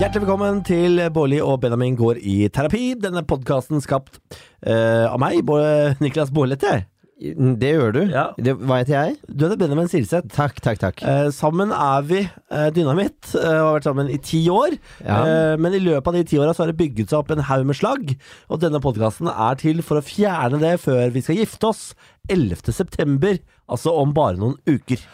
Hjertelig velkommen til Bårli og Benjamin går i terapi. Denne podkasten skapt eh, av meg, Bå- Niklas Bårlette. Det gjør du. Ja. Det, hva heter jeg? Du heter Benjamin Silseth. Takk, takk, takk. Eh, sammen er vi eh, dynamitt, eh, og har vært sammen i ti år. Ja. Eh, men i løpet av de ti åra har det bygget seg opp en haug med slagg, og denne podkasten er til for å fjerne det før vi skal gifte oss 11.9., altså om bare noen uker.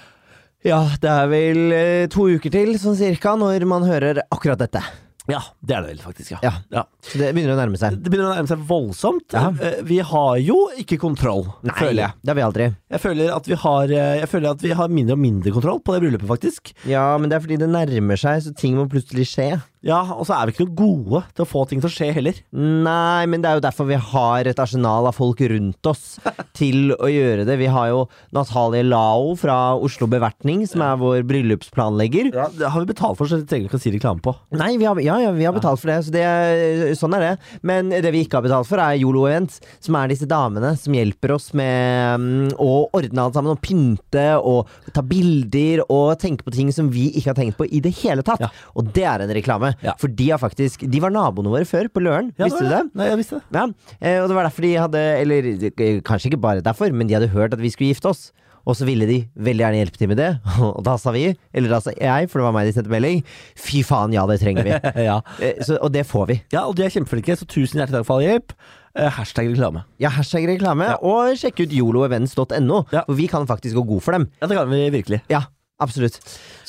Ja, det er vel eh, to uker til, sånn cirka, når man hører akkurat dette. Ja, det er det vel faktisk, ja. Ja. Så det begynner å nærme seg. Det begynner å nærme seg voldsomt. Ja. Eh, Vi har jo ikke kontroll, føler jeg. Det har vi aldri. Jeg føler, at vi har, eh, jeg føler at vi har mindre og mindre kontroll på det bryllupet, faktisk. Ja, men det er fordi det nærmer seg, så ting må plutselig skje. Ja, Og så er vi ikke noe gode til å få ting til å skje heller. Nei, men det er jo derfor vi har et arsenal av folk rundt oss til å gjøre det. Vi har jo Natalie Lao fra Oslo Bevertning, som er vår bryllupsplanlegger. Det har vi betalt for, så det trenger vi ikke å si reklame på. Nei, vi har, ja, ja, vi har betalt for det, så det, sånn er det. Men det vi ikke har betalt for, er Yolo Event, som er disse damene som hjelper oss med mm, å ordne alt sammen, og pynte og ta bilder og tenke på ting som vi ikke har tenkt på i det hele tatt. Ja. Og det er en reklame, Ja. for de har faktisk De var naboene våre før, på Løren. Ja, Visste var du det? Nei, jeg visste det. Ja, eh, og det var derfor de hadde Eller eh, kanskje ikke bare derfor, men de hadde hørt at vi skulle gifte oss. Og så ville de veldig gjerne hjelpe til med det, og da sa vi, eller da sa jeg, for det var meg de sendte melding, fy faen, ja, det trenger vi. Ja. Eh, så, og det får vi. ja, og de er kjempeflinke, så tusen hjertelig takk for all hjelp. Eh, Hashtag reklame. Ja, hashtag reklame, og sjekk ut yoloevents.no, Ja. for vi kan faktisk gå god for dem. Ja, det kan vi virkelig. Ja, absolutt.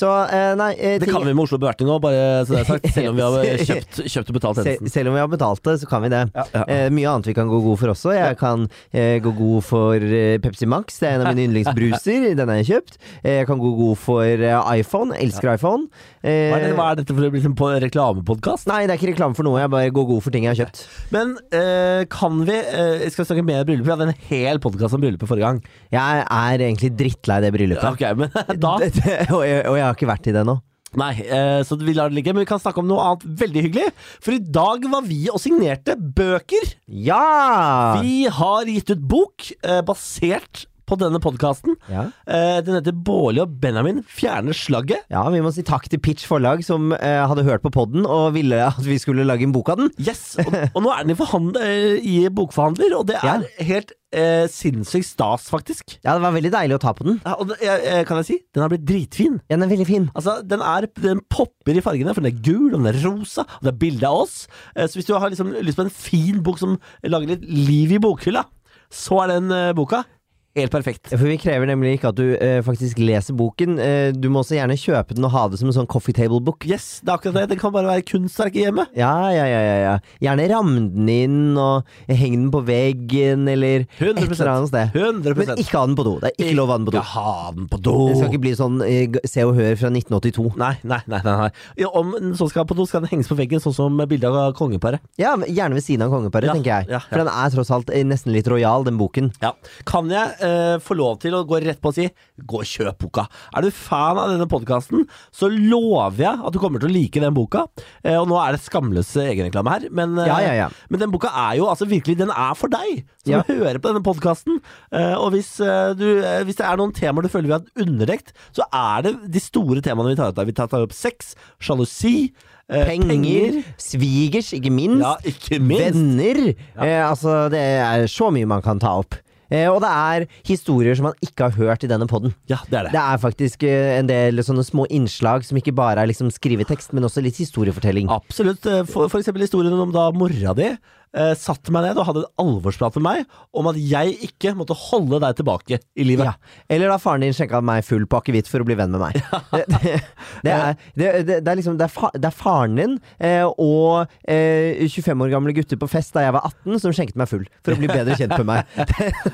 Så eh, nei eh, Det ting- kan vi med Oslo Bevertning òg, bare så det er sagt. Selv om vi har kjøpt, kjøpt og betalt se, tjenesten. selv om vi har betalt det, så kan vi det. Ja, ja. Eh, mye annet vi kan gå god for også. Jeg kan eh, gå god for eh, Pepsi Max, det er en av mine yndlingsbruser. Den har jeg kjøpt. Eh, jeg kan gå god for eh, iPhone, elsker iPhone. Eh, Hva er, det, hva er dette for å bli som på reklamepodkast? Nei, det er ikke reklame for noe, jeg bare går god for ting jeg har kjøpt. Men eh, kan vi eh, Skal vi snakke mer om bryllup? Vi hadde en hel podkast om bryllupet forrige gang. Jeg er egentlig drittlei det bryllupet. Ok, men da Det- det- og, jeg, og jeg har ikke vært i det ennå. Nei, eh, så vi lar det ligge, men vi kan snakke om noe annet veldig hyggelig. For i dag var vi og signerte bøker. Ja! Vi har gitt ut bok eh, basert på denne podkasten. ja! Eh, den heter 'Bårli og Benjamin fjerner slagget'. Ja, Vi må si takk til Pitch forlag, som eh, hadde hørt på podden og ville at vi skulle lage en bok av den. Yes, og, og nå er den i, forhand- eh, i bokforhandler, og det er helt eh, sinnssykt stas, faktisk. Ja, Det var veldig deilig å ta på den. Ja, og det, jeg- jeg- kan jeg si, den har blitt dritfin. Ja, Den er veldig fin. Altså, den, er, den popper i fargene, for den er gul, og den er rosa, og det er bilde av oss. Eh, Så hvis du har liksom lyst på en fin bok som lager litt liv i bokhylla, så er den eh, boka helt perfekt. For Vi krever nemlig ikke at du eh, faktisk leser boken. Eh, du må også gjerne kjøpe den og ha det som en sånn coffee table book. Yes, det er akkurat det. Den kan bare være kunstverk i hjemmet. Ja, ja, ja, ja, ja. Gjerne ram den inn og heng den på veggen eller et 100%. eller annet sted. 100 Men ikke ha den på do. Det er ikke lov å ha den på do. Ja, ha den på do. Det skal ikke bli sånn eh, g- Se og Hør fra 1982. Nei, nei, nei. nei, nei. Ja, om den så skal på do, skal den henges på veggen, sånn som bildet av kongeparet. Ja, men Gjerne ved siden av kongeparet, Ja, tenker jeg. ja, ja. For den er tross alt eh, nesten litt rojal, den boken. Ja. Kan jeg eh, få lov til å gå rett på og si gå og kjøp boka? Er du fan av denne podkasten, så lover jeg at du kommer til å like den boka. Eh, og nå er det skamløs eh, egenreklame her, men, eh, Ja, ja, ja. men den boka er jo altså virkelig Den er for deg som Ja. hører på denne podkasten. Eh, og hvis, eh, du, eh, hvis det er noen temaer du føler vi har underdekt, så er det de store temaene vi tar opp. Vi tar opp sex, sjalusi, eh, Penger, svigers, ikke minst. Ja, ikke minst. Venner. Eh, altså, det er så mye man kan ta opp. Eh, og det er historier som man ikke har hørt i denne podden. Ja, det er det. Det er faktisk eh, en del sånne små innslag som ikke bare er liksom skrivetekst, men også litt historiefortelling. Absolutt. Eh, For, for eksempel historien om da mora di eh, satte meg ned og hadde en alvorsprat med meg om at jeg ikke måtte holde deg tilbake i livet. Ja. Eller da faren din skjenka meg full på akevitt for å bli venn med meg. Det, det, det, er, det, det, det er liksom det er, fa, det er faren din eh, og eh, 25 år gamle gutter på fest da jeg var 18, som skjenket meg full for å bli bedre kjent med meg.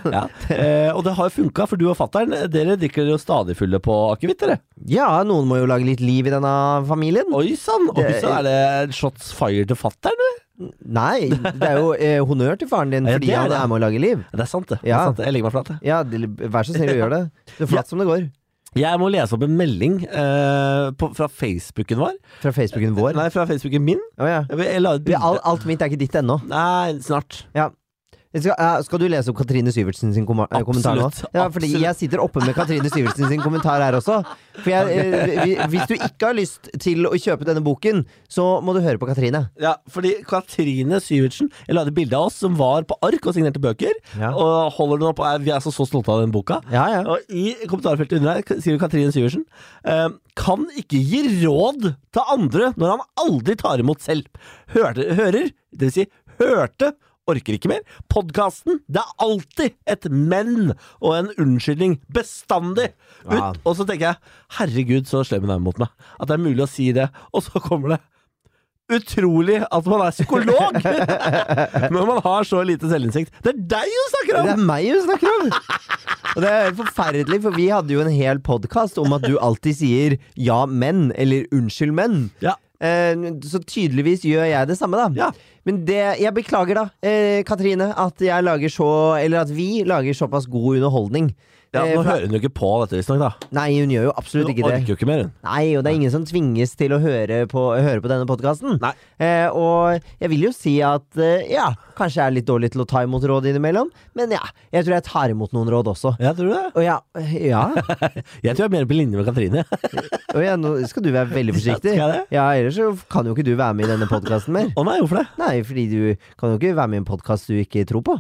Ja. Eh, og det har jo funka, for du og fattern dere drikker jo stadig fulle på akevitt, dere. Ja, noen må jo lage litt liv i denne familien. Oi sann! Oi Det- sann, er det shots fired til fattern, eller? Nei, det er jo eh, honnør til faren din Ja, det fordi er han det. er med å lage liv. Det er sant, det. det Ja. er sant, det. Jeg legger meg flat. jeg. Ja, det- vær så snill og gjør det. Så flatt som det går. Jeg må lese opp en melding eh, på, fra Facebooken vår. Fra Facebooken vår. Nei, fra Facebooken min. Å ja. Jeg, jeg la ut Vi- bilde Alt, alt mitt er ikke ditt ennå. Nei, snart. Ja. Skal, ja, skal du lese opp Katrine Syvertsen sin komma- eh, kommentar nå? Absolutt, Ja, fordi absolutt. jeg sitter oppe med Katrine Syvertsen sin kommentar her også. For jeg, eh, vi- hvis du ikke har lyst til å kjøpe denne boken, så må du høre på Katrine. Ja, fordi Katrine Syvertsen Jeg lagde bilde av oss som var på ark og signerte bøker. Ja. Og holder den opp, og er, vi er så, så stolte av den boka. Ja, ja. Og I kommentarfeltet under her skriver Katrine Syversen eh, Kan ikke gi råd til andre når han aldri tar imot selv. Hørte, hører, det vil si hørte, orker ikke mer. Podkasten, det er alltid et men og en unnskyldning. Bestandig. Ut. Ja. Og så tenker jeg, herregud så slem hun er mot meg. At det er mulig å si det. Og så kommer det. Utrolig at man er psykolog når man har så lite selvinnsikt. Det er deg hun snakker om! Det er meg hun snakker om! Og det er forferdelig, for vi hadde jo en hel podkast om at du alltid sier 'ja, men' eller 'unnskyld, men'. Ja. Eh, Så tydeligvis gjør jeg det samme, da. Ja. Men det, jeg beklager, da, eh, Katrine, at jeg lager så Eller at vi lager såpass god Ja, underholdning. Eh, nå for- hører hun jo ikke på dette, visstnok. da. Nei, hun gjør jo Hun absolutt ikke orker det. jo ikke mer, hun. Nei, og det er ingen som tvinges til å høre på, høre på denne podkasten. Nei. Eh, og jeg vil jo si at eh, ja, kanskje jeg er litt dårlig til å ta imot råd innimellom, men ja, jeg tror jeg tar imot noen råd også. Jeg tror det. Å ja, ja. Jeg tror jeg er mer på linje med Katrine. Å ja, nå skal du være veldig forsiktig. Skal jeg det? Ja, ellers så kan jo ikke du være med i denne podkasten mer. Å nei, hvorfor det? Nei, fordi du kan jo ikke være med i en podkast du ikke tror på.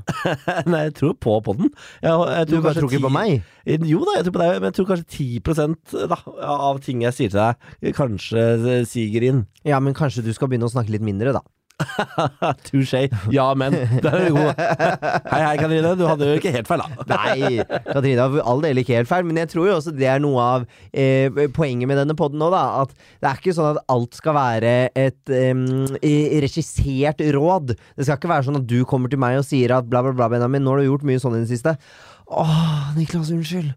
Nei, jeg tror på podden. Jeg, jeg Du bare tror ikke på meg. Jo da, jeg tror på deg, men jeg tror kanskje 10 da, av ting jeg sier til deg, kanskje eh, siger inn. Ja, men kanskje du skal begynne å snakke litt mindre, da. Touché. Ja, men. Det er jo god. Hei, hei, Katrine. Du hadde jo ikke helt feil, da. Nei, Katrine har for all del ikke helt feil, men jeg tror jo også det er noe av eh, poenget med denne podden nå, da. At det er ikke sånn at alt skal være et em, i- regissert råd. Det skal ikke være sånn at du kommer til meg og sier at bla, bla, bla, Benjamin, nå har du gjort mye sånn i det siste. Åh, Niklas, unnskyld.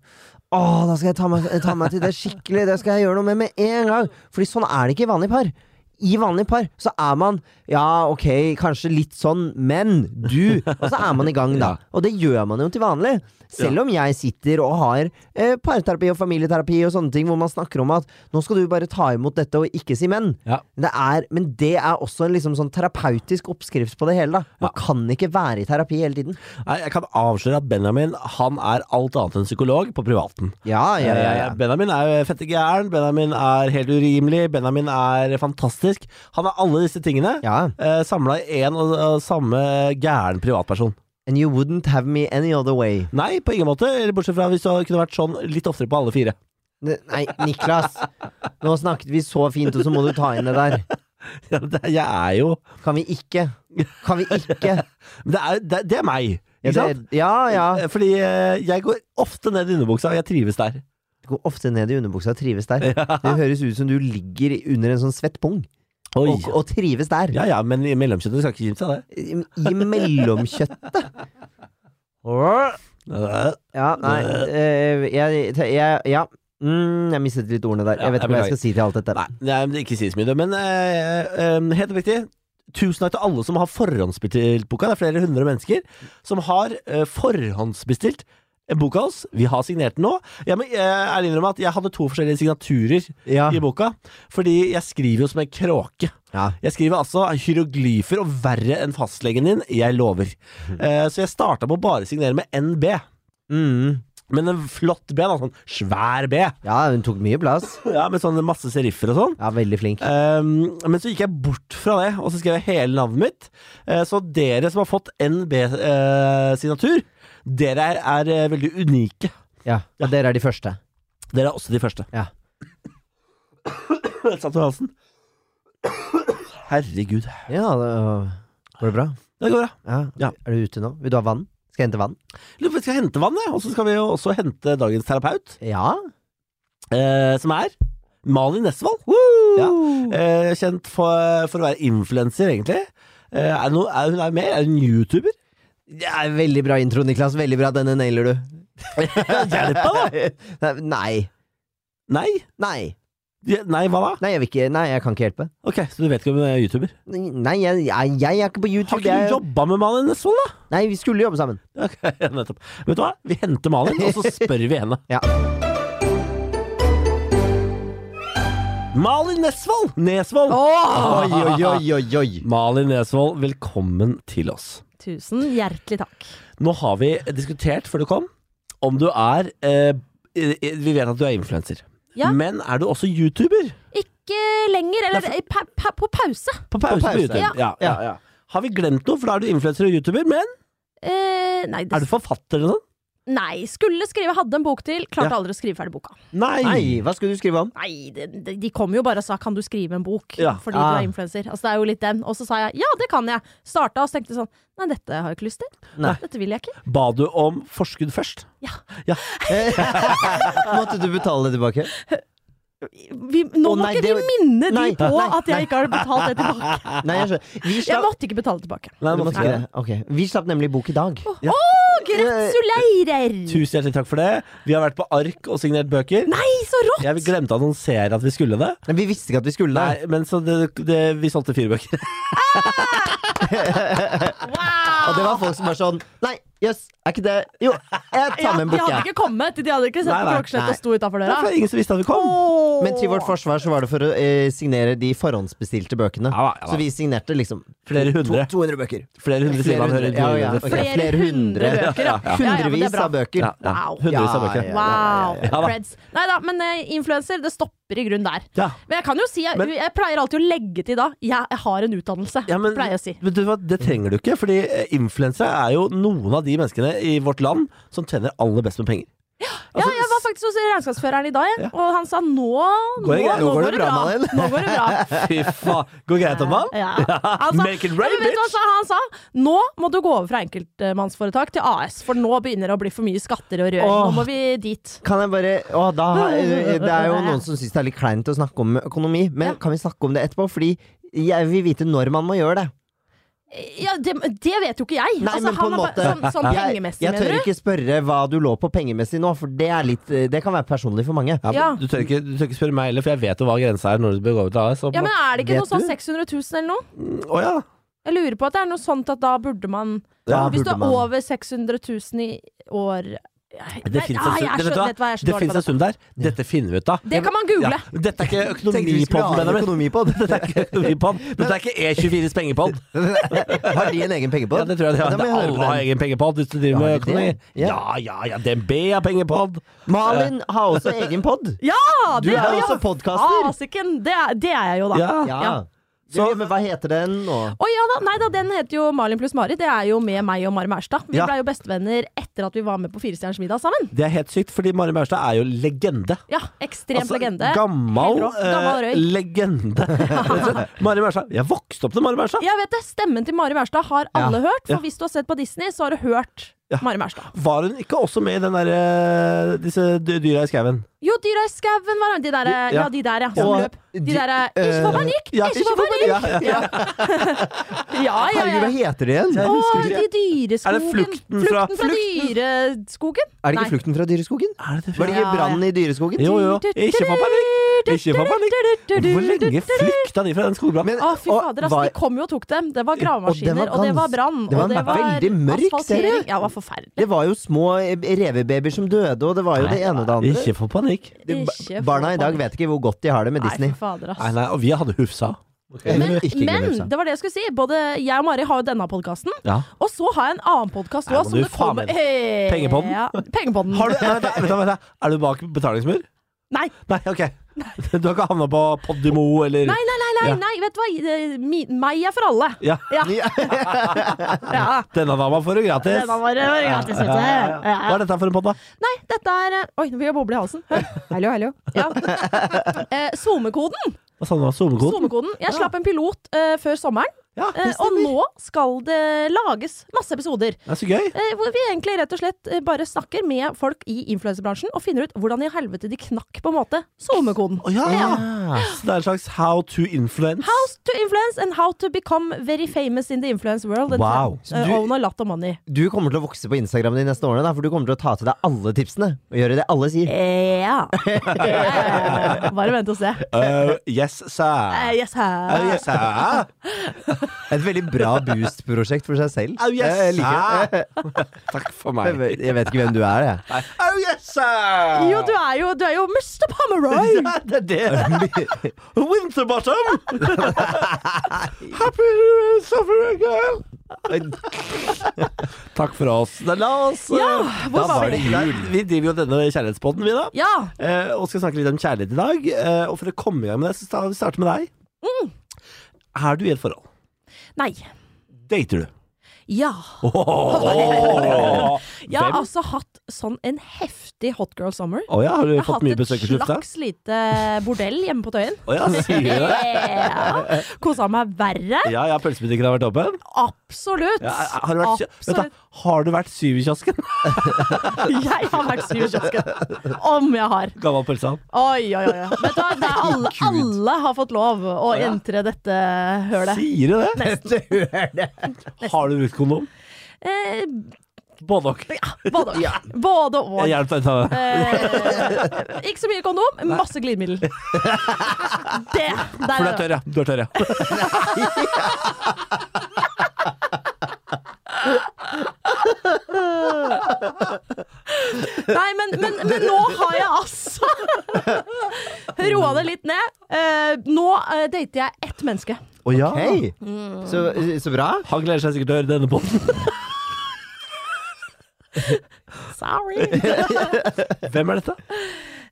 Åh, da skal jeg ta meg, ta meg til det skikkelig. Det skal jeg gjøre noe med med en gang. Fordi sånn er det ikke i vanlige par. I vanlige par så er man ja, ok, kanskje litt sånn, men du Og så er man i gang, da. Ja. Og det gjør man jo til vanlig. Selv om jeg sitter og har eh, parterapi og familieterapi og sånne ting hvor man snakker om at nå skal du bare ta imot dette og ikke si men. Ja. Det er, men det er også en liksom sånn terapeutisk oppskrift på det hele. da Man kan ikke være i terapi hele tiden. Nei, jeg kan avsløre at Benjamin han er alt annet enn psykolog på privaten. Ja, ja, ja, ja. Eh, Benjamin er jo fette gæren, Benjamin er helt urimelig, Benjamin er fantastisk. Han er alle disse tingene. ja. Eh, Samla i én og, og samme gæren privatperson. And you wouldn't have me any other way. Nei, på ingen måte. eller Bortsett fra hvis du kunne vært sånn litt oftere på alle fire. Ne- Nei, Niklas. Nå snakket vi så fint, og så må du ta inn det der. Ja, det- Jeg er jo Kan vi ikke? Kan vi ikke? Men det er, det, det er meg, ikke Ja, det, sant? ja, ja. Eh, Fordi eh, jeg går ofte ned i underbuksa, og jeg trives der. Du går ofte ned i underbuksa og trives der. Det høres ut som du ligger under en sånn svett pung Oi. og, og trives der. Ja ja, men i mellomkjøttet skal ikke kimse av det. I, i mellomkjøttet. Ja, Eh, nei eh, jeg, jeg, Ja. Mm, jeg mistet litt ordene der. Ja, Jeg vet jeg ikke hva jeg beklager. skal si til alt dette. Nei, nei men det ikke sies mye, det. Men eh, eh, helt oppriktig, tusen takk til alle som har forhåndsbestilt boka. Det er flere hundre mennesker som har eh, forhåndsbestilt en bok av oss. Vi har signert den nå. Jeg må eh, ærlig innrømme at jeg hadde to forskjellige signaturer Ja. i boka, fordi jeg skriver jo som en kråke. Ja. Jeg skriver altså hieroglyfer og verre enn fastlegen din, jeg lover. Eh, så jeg starta med å bare signere med NB. Mm. Men en flott B, da. Sånn svær B. ja, hun tok mye plass. Ja, Med sånn masse seriffer og sånn. Ja, veldig flink. Ehm, men så gikk jeg bort fra det, og så skrev jeg hele navnet mitt. Eh, så dere som har fått NB-signatur, dere er, er eh, veldig unike. Ja, og dere er de første. Dere er også de første. Ja. Jeg Satt med halsen. Herregud. Ja, det, Går det bra? Det går bra. Ja. Ja. Er du ute nå? Vil du ha vann? Skal jeg hente vann? Lurer på om Vi skal hente vann, jeg, og så skal vi jo også hente dagens terapeut, Ja. eh, som er Malin Nesvold. Eh, kjent for, for å være influenser, egentlig. Eh, er, no, er hun er med? Er hun youtuber? Det er veldig bra intro, Niklas. Veldig bra. Denne nailer du. Hjelp meg, da! Nei. Nei. Nei. Ja, Nei, hva da? Nei, jeg vil ikke Nei, jeg kan ikke hjelpe. Ok, Så du vet ikke om hun er youtuber? Nei, jeg, jeg, jeg er ikke på YouTube. Har ikke jeg, du jobba med Malin Nesvold, da? Nei, vi skulle jobbe sammen. Ok, nettopp. Vet du hva? Vi henter Malin, og så spør vi henne. Ja. Malin Nesvold! Nesvold! Åh! Oi, oi, oi, oi, oi. Malin Nesvold, velkommen til oss. Tusen hjertelig takk. Nå har vi diskutert før du kom om du er eh, Vi vet at du er influenser. Ja. Men er du også youtuber? Ikke lenger, eller eh, pa pa på pause. På pause. pause. på YouTube. Ja. Ja, ja. Har vi glemt noe? For da er du influenser og youtuber. Men Eh, nei, det, er du forfatter eller noe? nei, skulle skrive, hadde en bok til. Klarte Ja. aldri å skrive ferdig boka. Nei! Nei, hva skulle du skrive om? Nei, de, de- de kom jo bare og sa 'kan du skrive en bok' Ja. fordi Ah. du er influenser. Altså, det er jo litt den. Og så sa jeg 'ja, det kan jeg'. Starta og så tenkte jeg sånn 'nei, dette har jeg ikke lyst til'. Nei. Dette vil jeg ikke. Ba du om forskudd først? Måtte du betale det tilbake? Vi, nå Å, må nei, ikke det- vi minne Nei, de på nei, at jeg ikke har betalt det tilbake. Nei, jeg skjønner. Vi Jeg slapp, måtte ikke betale tilbake. Nei, du måtte måtte ikke det. Ok. Vi slapp nemlig bok i dag. Å, gratulerer! Tusen hjertelig takk for det. Vi har vært på ark og signert bøker. Nei, så rått! Jeg glemte å annonsere at vi skulle det. Men vi visste ikke at vi skulle der. Nei, men så det, det, vi solgte fire bøker. Og det var folk som var sånn Nei, jøss, er ikke det Jo, jeg tar med en Ah, de bok, hadde jeg. ikke kommet. De hadde ikke sett Nei, på nei, klokkeslett nei. og sto utafor Det døra. var ingen som visste at vi kom. Åh. Men til vårt forsvar så var det for å eh, signere de forhåndsbestilte bøkene. Ja da, ja da. Så vi signerte liksom Flere hundre. To, 200 bøker. Flere hundre sider. man hører. Ja, ja, ok. Flere Flere hundre. hundre bøker, ja. Ja, ja, men det er Hundrevis bra. av bøker. Ja, ja. Wow. Hundrevis av Ja, bøker. ja. Wow. ja, ja. Creds. Nei da, men eh, influenser, det stopper i grunnen der. Ja. Men jeg kan jo si, jeg, Men- jeg pleier alltid å legge til da Jeg, jeg har en utdannelse, Ja, men- pleier jeg å si. Vet du hva, det trenger du ikke, fordi eh, influensere er jo noen av de menneskene i vårt land som tjener aller best med penger. Ja, Altså, jeg var faktisk hos regnskapsføreren i dag, jeg, og han sa nå, nå, Går det greit? nå Går går det det bra, bra. Malin?» Nå går det bra. Fy faen. Går greit om han? Ja. Han sa, Make it Ja, rain, men vet du hva bitch! sa han sa? Nå må du gå over fra enkeltmannsforetak til AS, for nå begynner det å bli for mye skatter og rør. Åh. Nå må vi dit. Kan jeg bare å, da, eh, Det er jo noen som syns det er litt kleint å snakke om økonomi, men Ja. kan vi snakke om det etterpå? Fordi jeg vil vite når man må gjøre det. Ja, det, det vet jo ikke jeg. Nei, Altså, men på han en har måte bare- Sånn, sånn Jeg, pengemessig, jeg tør mener du? ikke spørre hva du lå på pengemessig nå, for det, er litt, eh, det kan være personlig for mange. Ja, men Ja. Du, tør ikke, du tør ikke spørre meg heller, for jeg vet jo hva grensa er når du bør gå over til AS. og- Ja, men er det ikke Vet noe sånn du? 600 000 eller noe? Å ja. Jeg lurer på at det er noe sånt at da burde man Da Hvis burde du er man- over 600 000 i år Det fins en, Nei, ah, sum- jeg er det, så- vet du hva? vet du hva, jeg er så Det dårlig finnes på en sum der. Dette finner vi ut av. Det kan man google. Ja, Dette er ikke Tenkte vi skulle økonomipodden, ha en Benjamin. økonomipod. Dette er ikke økonomipod. Dette er ikke E24s pengepod. Har de en egen Ja, pengepod? det tror jeg de har. Da må jeg høre på Alle har den. egen pengepod hvis du driver Ja, med har de økonomi. det? Ja. Ja, ja, ja. DNB har pengepod. Malin har også egen pod. Ja! Du det, er ja, også podkaster. Fasiken! Det, er- det er jeg jo, da. Ah, altså. Ja. Ja. Så- Du, men hva heter den nå? Å ja da, nei da, den heter jo Malin pluss Mari. Det er jo med meg og Mari Mærstad. Vi Ja. blei jo bestevenner etter at vi var med på Firestjerners middag sammen. Det er helt sykt, fordi Mari Maurstad er jo legende. Ja, ekstremt Altså, legende. Gammal, Helt rå. Gammal eh, røy. legende. Rett og slett. Mari Maurstad. Jeg vokste opp med Mari Maurstad. Jeg vet det, Stemmen til Mari Mærstad har alle hørt, for ja. hvis du har sett på Disney, så har du hørt Mari Mærstad. Var hun ikke også med i den derre Disse dy- dyra i skauen? Jo, dyra i skauen var de der, ja. Ja. eh, de der, ja. Som Og løp. De de- derre Ikke for panikk! Ja, Ikke for ja, panikk! ja, ja. Ja, ja, Herregud, hva ja. heter de igjen? Jeg Å, husker de ikke. dyreskogen. Er det Flukten fra- dyreskogen? Er det Nei. ikke Flukten fra dyreskogen? Er det det? Var det ikke Ja, ja. brannen i dyreskogen? Jo, jo. Ikke for panikk! Ikke for panikk. Hvor lenge flykta de fra den skogbrannen? Men- Å, fy og fader, altså, var- de kom jo og tok dem. Det var Og det gravemaskiner, var og det var gans- brann. det var og en veldig mørk asfaltering. serie. Ja, det var forferdelig. Det var jo små eh, revebabyer som døde, og det var jo det ene og det andre. Ikke for panikk. Det- ba- Ikke for Barna i dag panikk. vet ikke hvor godt de har det med Disney. Nei, fy fader, ass. Nei, nei, og vi hadde Hufsa. Men, Ikke glem Hufsa. men det var det jeg skulle si. Både jeg og Mari har jo denne podkasten. Ja. Og så har jeg en annen podkast Nei, òg. må du faen meg- Pengepodden? Ja, Pengepodden. Har du, vent, da, vent, da, vent, da. Er du bak betalingsmur? Nei. Nei, ok. Du har ikke havna på Podimo eller Nei, nei, nei, nei, Ja. nei, vet du hva? Eh, Mi, meg er for alle. Ja. Ja. ja. Denne dama får du gratis. Denne var eh, gratis, vet du. Hva Ja. er dette for en podd, da? Nei, dette er eh, Oi, nå fikk jeg boble i halsen. Hør. Hallo, hallo. Ja. Eh, SoMe-koden. Hva sa du nå? SoMe-koden? SoMe-koden. Jeg slapp en pilot eh, før sommeren, Ja, eh, det og stemmer. nå skal det lages masse episoder. Det er så gøy. Eh, hvor vi egentlig rett og slett eh, bare snakker med folk i influenserbransjen og finner ut hvordan i helvete de knakk på en måte SoMe-koden. Å ja. Ja. Så det er en slags how to influence. How to influence and how to become very famous in the influence world. And Wow. turn, eh, Du- own a lot of money. Du kommer til å vokse på Instagram de neste årene, da, for du kommer til å ta til deg alle tipsene. Og gjøre det alle sier. Eh, Ja. Eh, Bare vent og se. Uh, yes, Eh, sir. Yes, Uh, hæ. yes, sir. Et veldig bra boost-prosjekt for seg selv. Oh, yes, jeg, liker det. sir. Takk for meg. Jeg vet- jeg vet ikke hvem du er, jeg. Oh, yes, Winterbutter! Jo, du er jo, du er jo Mr. Pomeroy! Ja, det er det. Winterbottom! Happy suffering girl! Takk for oss. Da, la oss eh, Ja, hvor da var vi? Nei, Vi driver jo denne kjærlighetspodden, vi da. Ja. Eh, og skal snakke litt om kjærlighet i dag. Eh, og for å komme i gang med det, så tar vi starter med deg. Er du i et forhold? Nei. Dater du? Ja. Åh. Jeg har Hvem? altså hatt sånn en heftig hot girl summer. Å ja, har du Jeg har fått mye hatt et besøk i slufta? slags lite bordell hjemme på Tøyen. Å ja, sier du det? Yeah. Kosa meg verre. Ja, ja, pølsebutikken har vært åpen? Absolutt. Ja, har, du vært, vet du, Absolutt. har du vært syv i kiosken? Jeg har vært syv i kiosken. Om jeg har. Gammel pølsehavn. Oi, oi, oi. Vet du hva, det er alle, alle har fått lov å Ja. entre dette hølet. Sier du det? Dette hører det. Har du brukt kondom? Eh, Både og. både og. Både og. Jeg hjelper deg å ta det. Eh, ikke så mye kondom, masse glidemiddel. Det, der For du er er det. tørr, ja. Du er tørr, ja. Nei, men, men, men nå har jeg altså roa det litt ned. Eh, nå eh, dater jeg ett menneske. Å ja. Hei! Mm. Så, så bra. Han gleder seg sikkert til å høre denne båten. Sorry. Hvem er dette?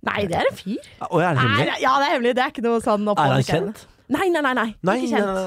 Nei, det er en fyr. Å, er det Nei, hemmelig? det- ja, det er hemmelig. Det er ikke noe sånn opphold. Er han kjent? Nei, nei, nei. nei. Nei, ikke kjent.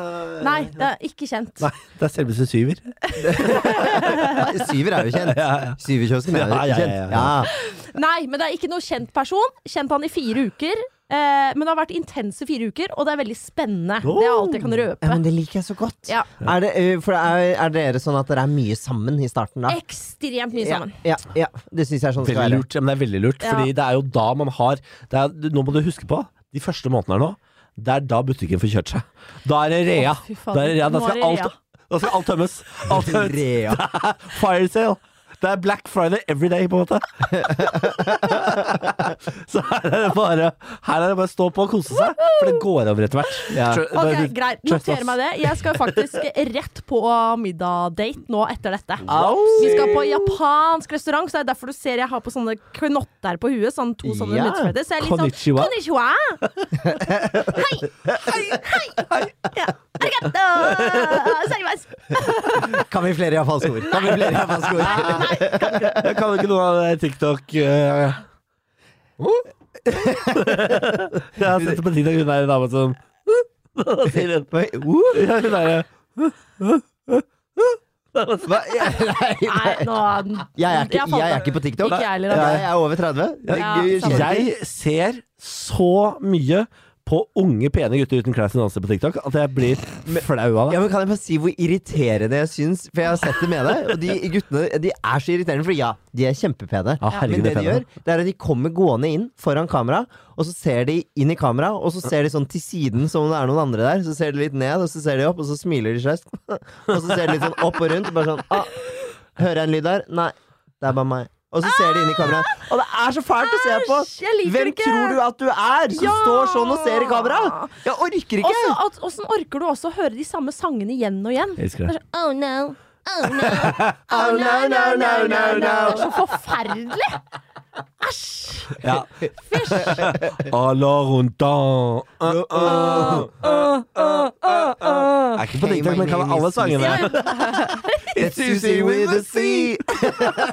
Nei, det er ikke kjent. Nei, det er selveste syver. Nei, Syver er jo kjent. Syverkiosken Ja, er ja, jo ja, kjent. ja. Ja. Nei, men det er ikke noe kjent person. Kjent han i fire uker. Eh, men det har vært intense fire uker, og det er veldig spennende. Det er alt jeg Oh. kan Ja, røpe. men det liker jeg så godt. Ja. Er, det, ø, for er, er dere sånn at dere er mye sammen i starten, da? Ekstremt mye sammen. Ja, ja, ja. Det syns jeg er sånn skal Veldig være. lurt. Ja, men det er veldig lurt, Ja. fordi det er jo da man har det er, du- Nå må du huske på, de første månedene her nå, det er da butikken får kjørt seg. Da er det rea. Å, fy faen. da, er det rea. da Nå er skal det rea. alt, da skal alt tømmes. Alt tømmes. Rea. Fire sale. Det er Black Friday every day, på en måte. Så her er det bare Her er det bare å stå på og kose seg, for det går over etter hvert. Ja. Tr- Ok, bare- Greit, trust noter us. meg det. Jeg skal faktisk rett på middag-date nå etter dette. Au! Vi skal på japansk restaurant, så det er derfor du ser jeg har på sånne knotter på huet. Sånn to sånne Ja. munnspretter. Så jeg er litt Konnichiwa. sånn Konnichiwa! Hei! Hei! Hei! Ja. Arigato! Saimas! Kan vi flere japanske ord? Kan vi flere japanske ord? Jeg kan ikke noe av det TikTok eh. Jeg har sett det på TikTok, hun er en dame som Da sier hun Oi, uh, ja, Hun er hva? Ja, Nei, Nei, nei. nå Jeg er, ikke, jeg er ikke på TikTok. Ikke jeg heller. Ja, jeg er over 30. Ja, Jeg- samme. Jeg ser så mye på unge, pene gutter uten klær som danser på TikTok at jeg blir flau av Ja, det. men Kan jeg bare si hvor irriterende jeg syns? For jeg har sett det med deg. Og de guttene de er så irriterende, for ja, de er kjempepene. Ja, herregud, men det det de er gjør, pene. det er at de kommer gående inn foran kamera, og så ser de inn i kamera, og så ser de sånn til siden som om det er noen andre der. Så ser de litt ned, og så ser de opp, og så smiler de seg. Og så ser de litt sånn opp og rundt, og bare sånn ah, Hører jeg en lyd der? Nei, det er bare meg. Og så ser de inn i kamera. Og det er så fælt å se på! Æsj, jeg liker Hvem det ikke. tror du at du er, som Ja. står sånn og ser i kamera? Jeg orker ikke! Åssen orker du også å høre de samme sangene igjen og igjen? Jeg elsker Det det. er sånn, Oh no. Oh no. Oh, no, no, no, no, Det no. er så forferdelig! Æsj! Ja. Alors on dans. Uh, uh. uh, Jeg er ikke på Hey, TikTok, my men kan name alle is sangene. Ja, It's Susie with the sea.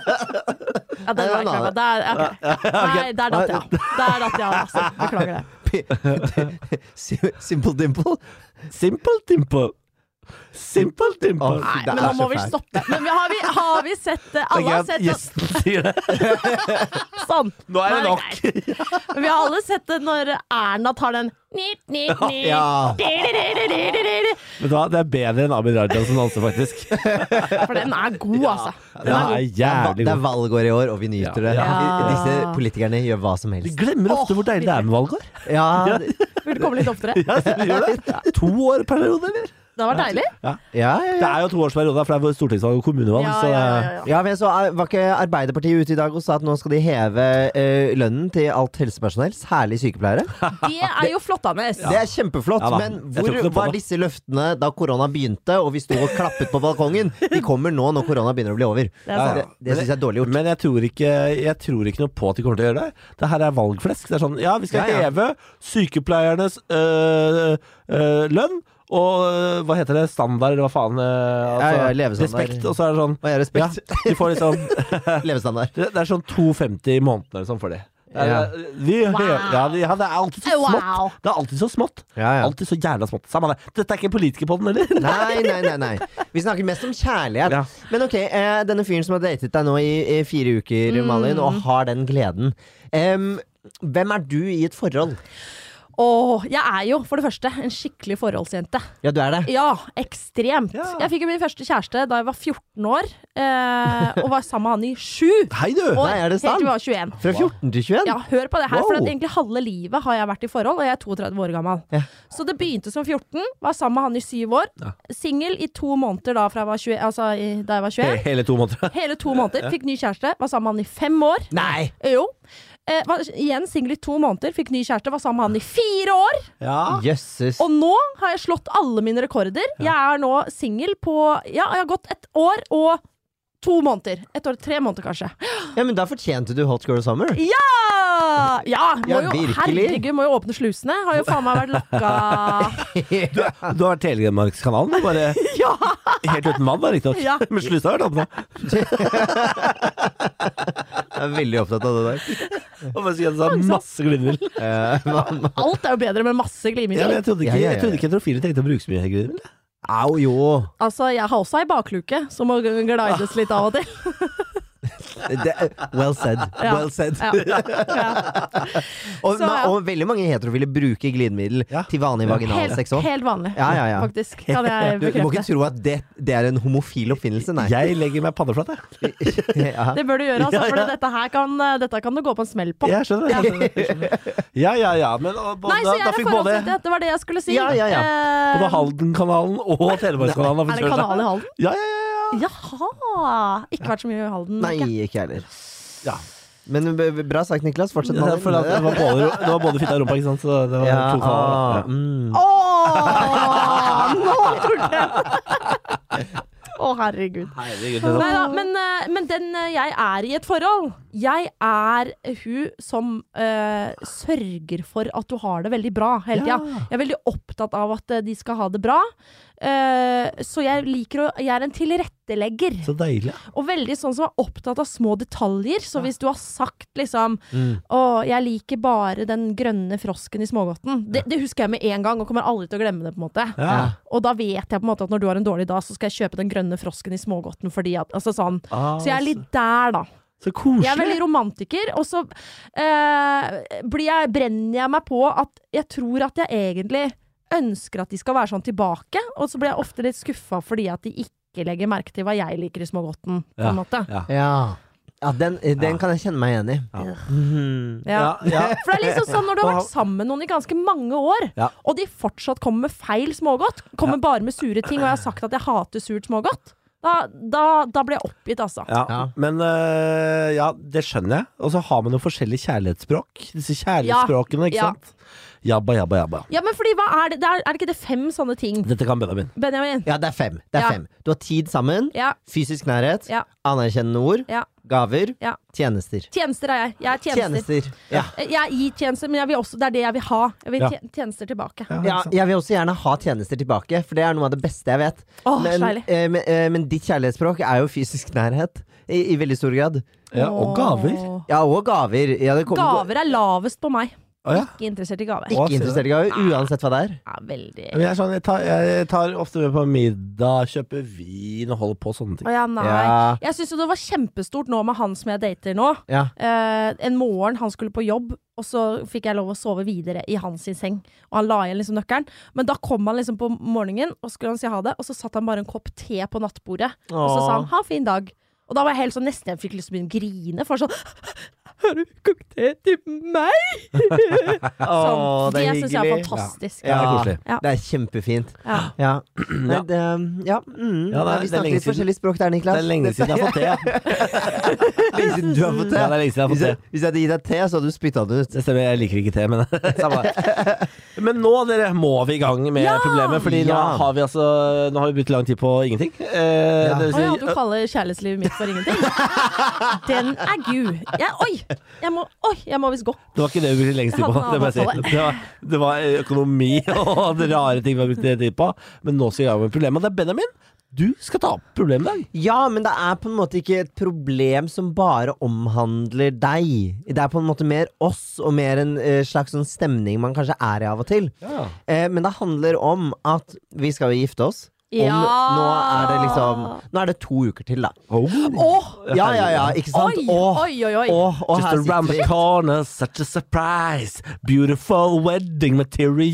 Ja, den var Nei, klar. nei, nei. Der, ok. Nei, der datt jeg av. Der datt jeg av, altså. Beklager det. Sim- Simple dimple. Simple dimple. Simple dimple. Å, Nei, Det er men nå så må vi fælt. stoppe. Men vi har, vi, har vi sett eh, Alle har sett sånn. Gjesten sier det. sånn. Nå er det Nei, nok. nei. Men vi har alle sett det når Erna tar den nit, nit, nit. Ja. Di-di-di-di-di-di-di. Vet du hva, det er bedre enn Abid Raja som danser, faktisk. For den er god, altså. Det er jævlig Det er godt. valgår i år, og vi nyter det. Ja. Ja. Disse politikerne gjør hva som Vi helst. glemmer ofte hvor deilig det er med valgår. Ja, Burde komme litt oftere. Ja, så vi gjør det. To år periode, eller? Det hadde vært deilig. Ja, ja, Det ja. er jo toårsperioder, for det er stortingsvalg og kommunevalg. Ja, så det ja, er- ja, ja. Ja, men jeg så eh, Var ikke Arbeiderpartiet ute i dag og sa at nå skal de heve eh, lønnen til alt helsepersonell, særlig sykepleiere? Det er jo flottanes. Det er kjempeflott, Ja da, men jeg tror hvor ikke noe på var det. disse løftene da korona begynte og vi sto og klappet på balkongen? De kommer nå når korona begynner å bli over. er sant. Det, det syns jeg er dårlig gjort. Men jeg tror, ikke, jeg tror ikke noe på at de kommer til å gjøre det. Det her er valgflesk. Det er sånn, ja, vi skal Ja, ja. heve sykepleiernes øh, øh, lønn. Og øh, hva heter det? Standard, eller hva faen? øh, Ja, ja, levestandard. Respekt. Og så er det sånn Hva er ja, respekt? de får litt sånn- Levestandard. det, det er sånn 2,50 i måneden eller sånn for de. Det er, Ja. vi, Wow. ja, de, ja, det er alltid så Wow. smått. Det er alltid så smått. Ja, ja. Alltid så jævla smått. Samme det. Dette er ikke politikerpodden, eller? Nei, nei, nei, nei. Vi snakker mest om kjærlighet. Ja. Men ok, eh, denne fyren som har datet deg nå i, i fire uker, Mm. Malin, og har den gleden. Em, hvem er du i et forhold? Åh, jeg er jo for det første en skikkelig forholdsjente. Ja, du er det. Ja, ekstremt. Ja. Jeg fikk jo min første kjæreste da jeg var 14 år, eh, og var sammen med han i sju Hei, du! år. Nei, er det sant? Helt til vi var 21. Fra 14 til 21? Ja, hør på det her, for Wow. at egentlig halve livet har jeg vært i forhold, og jeg er 32 år gammel. Ja. Så det begynte som 14, var sammen med han i syv år. Singel i to måneder da, fra jeg var 20, altså, i, da jeg var 21. Hele to måneder. Hele to måneder, fikk ny kjæreste, var sammen med han i fem år. Nei! Jo. Eh, var igjen singel i to måneder, fikk ny kjæreste, var sammen med han i fire år. Ja. Jøsses. Og nå har jeg slått alle mine rekorder. Jeg er nå singel på Ja, jeg har gått et år og to måneder. Et år og tre måneder, kanskje. Ja, men da fortjente du Hot Girl Summer. Ja! ja, må Ja, jo, virkelig. herregud, må jo åpne slusene. Har jo faen meg vært lokka Du, du har Telemarkskanalen, du, bare Ja! helt uten mann, da, riktignok. Ja. Men slutta har vært oppe. Jeg er veldig opptatt av det der. Og bare si at det er masse glidemiddel. Eh, man, man. Alt er jo bedre med masse Ja, men glimiddel. jeg trodde ikke, Ja, ja, ja. jeg trodde ikke heterofile trengte å bruke så mye glidemiddel. Au, jo. Altså, jeg har også ei bakluke som må glides litt av og til. Det, well said. Ja. Well said. Ja. Ja. Og, Så, ja. og veldig mange heterofile bruker glidemiddel Ja. til vanlig vaginalsex Helt, òg. helt vanlig, Ja, ja, ja. faktisk. Kan Du, jeg du må bekrefte. ikke tro at det, det er en homofil oppfinnelse, nei. Jeg legger meg panneflat, jeg. Ja. Det bør du gjøre, altså, Ja, for ja. dette her kan, dette kan du gå på en smell på. Jeg skjønner det. jeg skjønner det, jeg skjønner det. Ja, ja, ja. Men og, da, Nei, så jeg da er fikk både, forholdsvis Det var det jeg skulle si. Ja, ja, ja. Eh, både Haldenkanalen og Telemarkskanalen har Er fått det kjørt kanal seg. i Halden? Ja, ja, ja, ja. Jaha! Ikke vært så mye i Halden. Nei, ikke. ikke jeg heller. Ja. Men b- b- bra sagt, Niklas. Fortsett med Jeg føler at det var både, det var både fitta og rumpa, ikke sant. Så det var Ja, to kanaler. ah, mm. Åh, nå tok jeg den! Å, herregud. Ja. Herregud, det er Nei da, men, eh, men den eh, jeg er i et forhold Jeg er hun som eh, sørger for at du har det veldig bra hele tida. Ja. Jeg er veldig opptatt av at eh, de skal ha det bra. Eh, så jeg liker å Jeg er en tilrettelegger. Så deilig. Og veldig sånn som er opptatt av små detaljer. Så hvis du har sagt liksom Mm. 'Å, jeg liker bare den grønne frosken i smågodten', det, det husker jeg med en gang, og kommer aldri til å glemme det, på en måte. Ja. Og da vet jeg på en måte at når du har en dårlig dag, så skal jeg kjøpe den grønne frosken i smågodten fordi at Altså sånn. Ah, Så jeg er litt der, da. så koselig. Jeg er veldig romantiker, og så eh, blir jeg, brenner jeg meg på at jeg tror at jeg egentlig ønsker at de skal være sånn tilbake, og så blir jeg ofte litt skuffa fordi at de ikke legger merke til hva jeg liker i smågodten, på Ja. en måte. Ja. Ja, ja den, eh, den kan jeg kjenne meg igjen i. Ja. Mhm. Ja. ja. For det er liksom sånn når du har vært sammen med noen i ganske mange år, Ja. og de fortsatt kommer med feil smågodt, kommer bare med sure ting, og jeg har sagt at jeg hater surt smågodt, da, da, da blir jeg oppgitt, altså. Ja, Ja. men øh, ja, det skjønner jeg. Og så har man jo forskjellige kjærlighetsspråk. Disse kjærlighetsspråkene, ikke Ja. sant. Jabba, jabba, jabba. Ja, men fordi hva er det? Det er, er det ikke det fem sånne ting, Dette kan Benjamin. Benjamin? Ja, det er fem. Det er Ja. fem. Du har tid sammen, Ja. fysisk nærhet, Ja. anerkjennende ord, Ja. gaver, Ja. tjenester. Tjenester er jeg. Jeg er tjenester. Eh, Tjenester. Ja. Jeg gir tjenester, men jeg vil også, det er det jeg vil ha. Jeg vil Ja. tje- tjenester tilbake. Ja, jeg vil også gjerne ha tjenester tilbake, for det er noe av det beste jeg vet. Åh, men, så deilig. eh, men, eh, men ditt kjærlighetsspråk er jo fysisk nærhet, i, i veldig stor grad. Ja, og gaver. Åh. Ja, og gaver. Ja, det kommer- Gaver er lavest på meg. Å, ja. Ikke interessert i gaver. Åh. Ikke interessert i gaver, uansett hva det er. Ja, veldig Men jeg, er sånn, jeg, tar, jeg tar ofte med på middag, kjøper vin og holder på sånne ting. Å ja, nei. Ja. Jeg syns jo det var kjempestort nå med han som jeg dater nå. Ja. Eh, en morgen han skulle på jobb, og så fikk jeg lov å sove videre i hans sin seng. Og han la igjen liksom nøkkelen. Men da kom han liksom på morgenen, og skulle han si ha det, og så satt han bare en kopp te på nattbordet. Og så sa han 'ha en fin dag'. Og da var jeg helt sånn nesten jeg fikk lyst til å begynne å grine. For sånn Har du kokt te til meg? Å, sånn. Det, syns jeg er fantastisk. Ja, det er koselig. Ja. Det er kjempefint. Ja. Ja. Nei, det, ja, Ja, det er- mm, vi det er lenge snakker litt siden. forskjellig språk der, Niklas. Det er lenge siden jeg har fått te. ja. Lenge siden du har fått te. Ja, det er lenge siden jeg har Hvis fått te. jeg, hvis jeg hadde gitt deg te, så hadde du spytta den ut. Det stemmer, jeg liker ikke te, men Samme. Men nå, dere, må vi i gang med problemet, Fordi nå Ja. har vi altså Nå har vi brukt lang tid på ingenting. Eh, Ja. det vil Å ja, si, du kaller kjærlighetslivet mitt for ingenting? Den er gud. Jeg, oi! Jeg må, oi, jeg må visst gå. det var ikke det vi brukte lengst tid på. Jeg Det, må jeg hadde si. det, var, det var eh, økonomi og rare ting vi har brukt tid på. Men nå skal vi i gang med problemet. Det er Benjamin. Du skal ta opp problemet i dag. Ja, men det er på en måte ikke et problem som bare omhandler deg. Det er på en måte mer oss, og mer en eh, slags sånn stemning man kanskje er i av og til. Eh, men det handler om at vi skal jo gifte oss. Om, Ja. Nå er det liksom Nå er det to uker til, da. Oh. Ja, ja, ja, ikke sant? Oi, Åh, oi, oi, oi. åh, åh, her Just around sitter the vi. corner, such a surprise. Beautiful wedding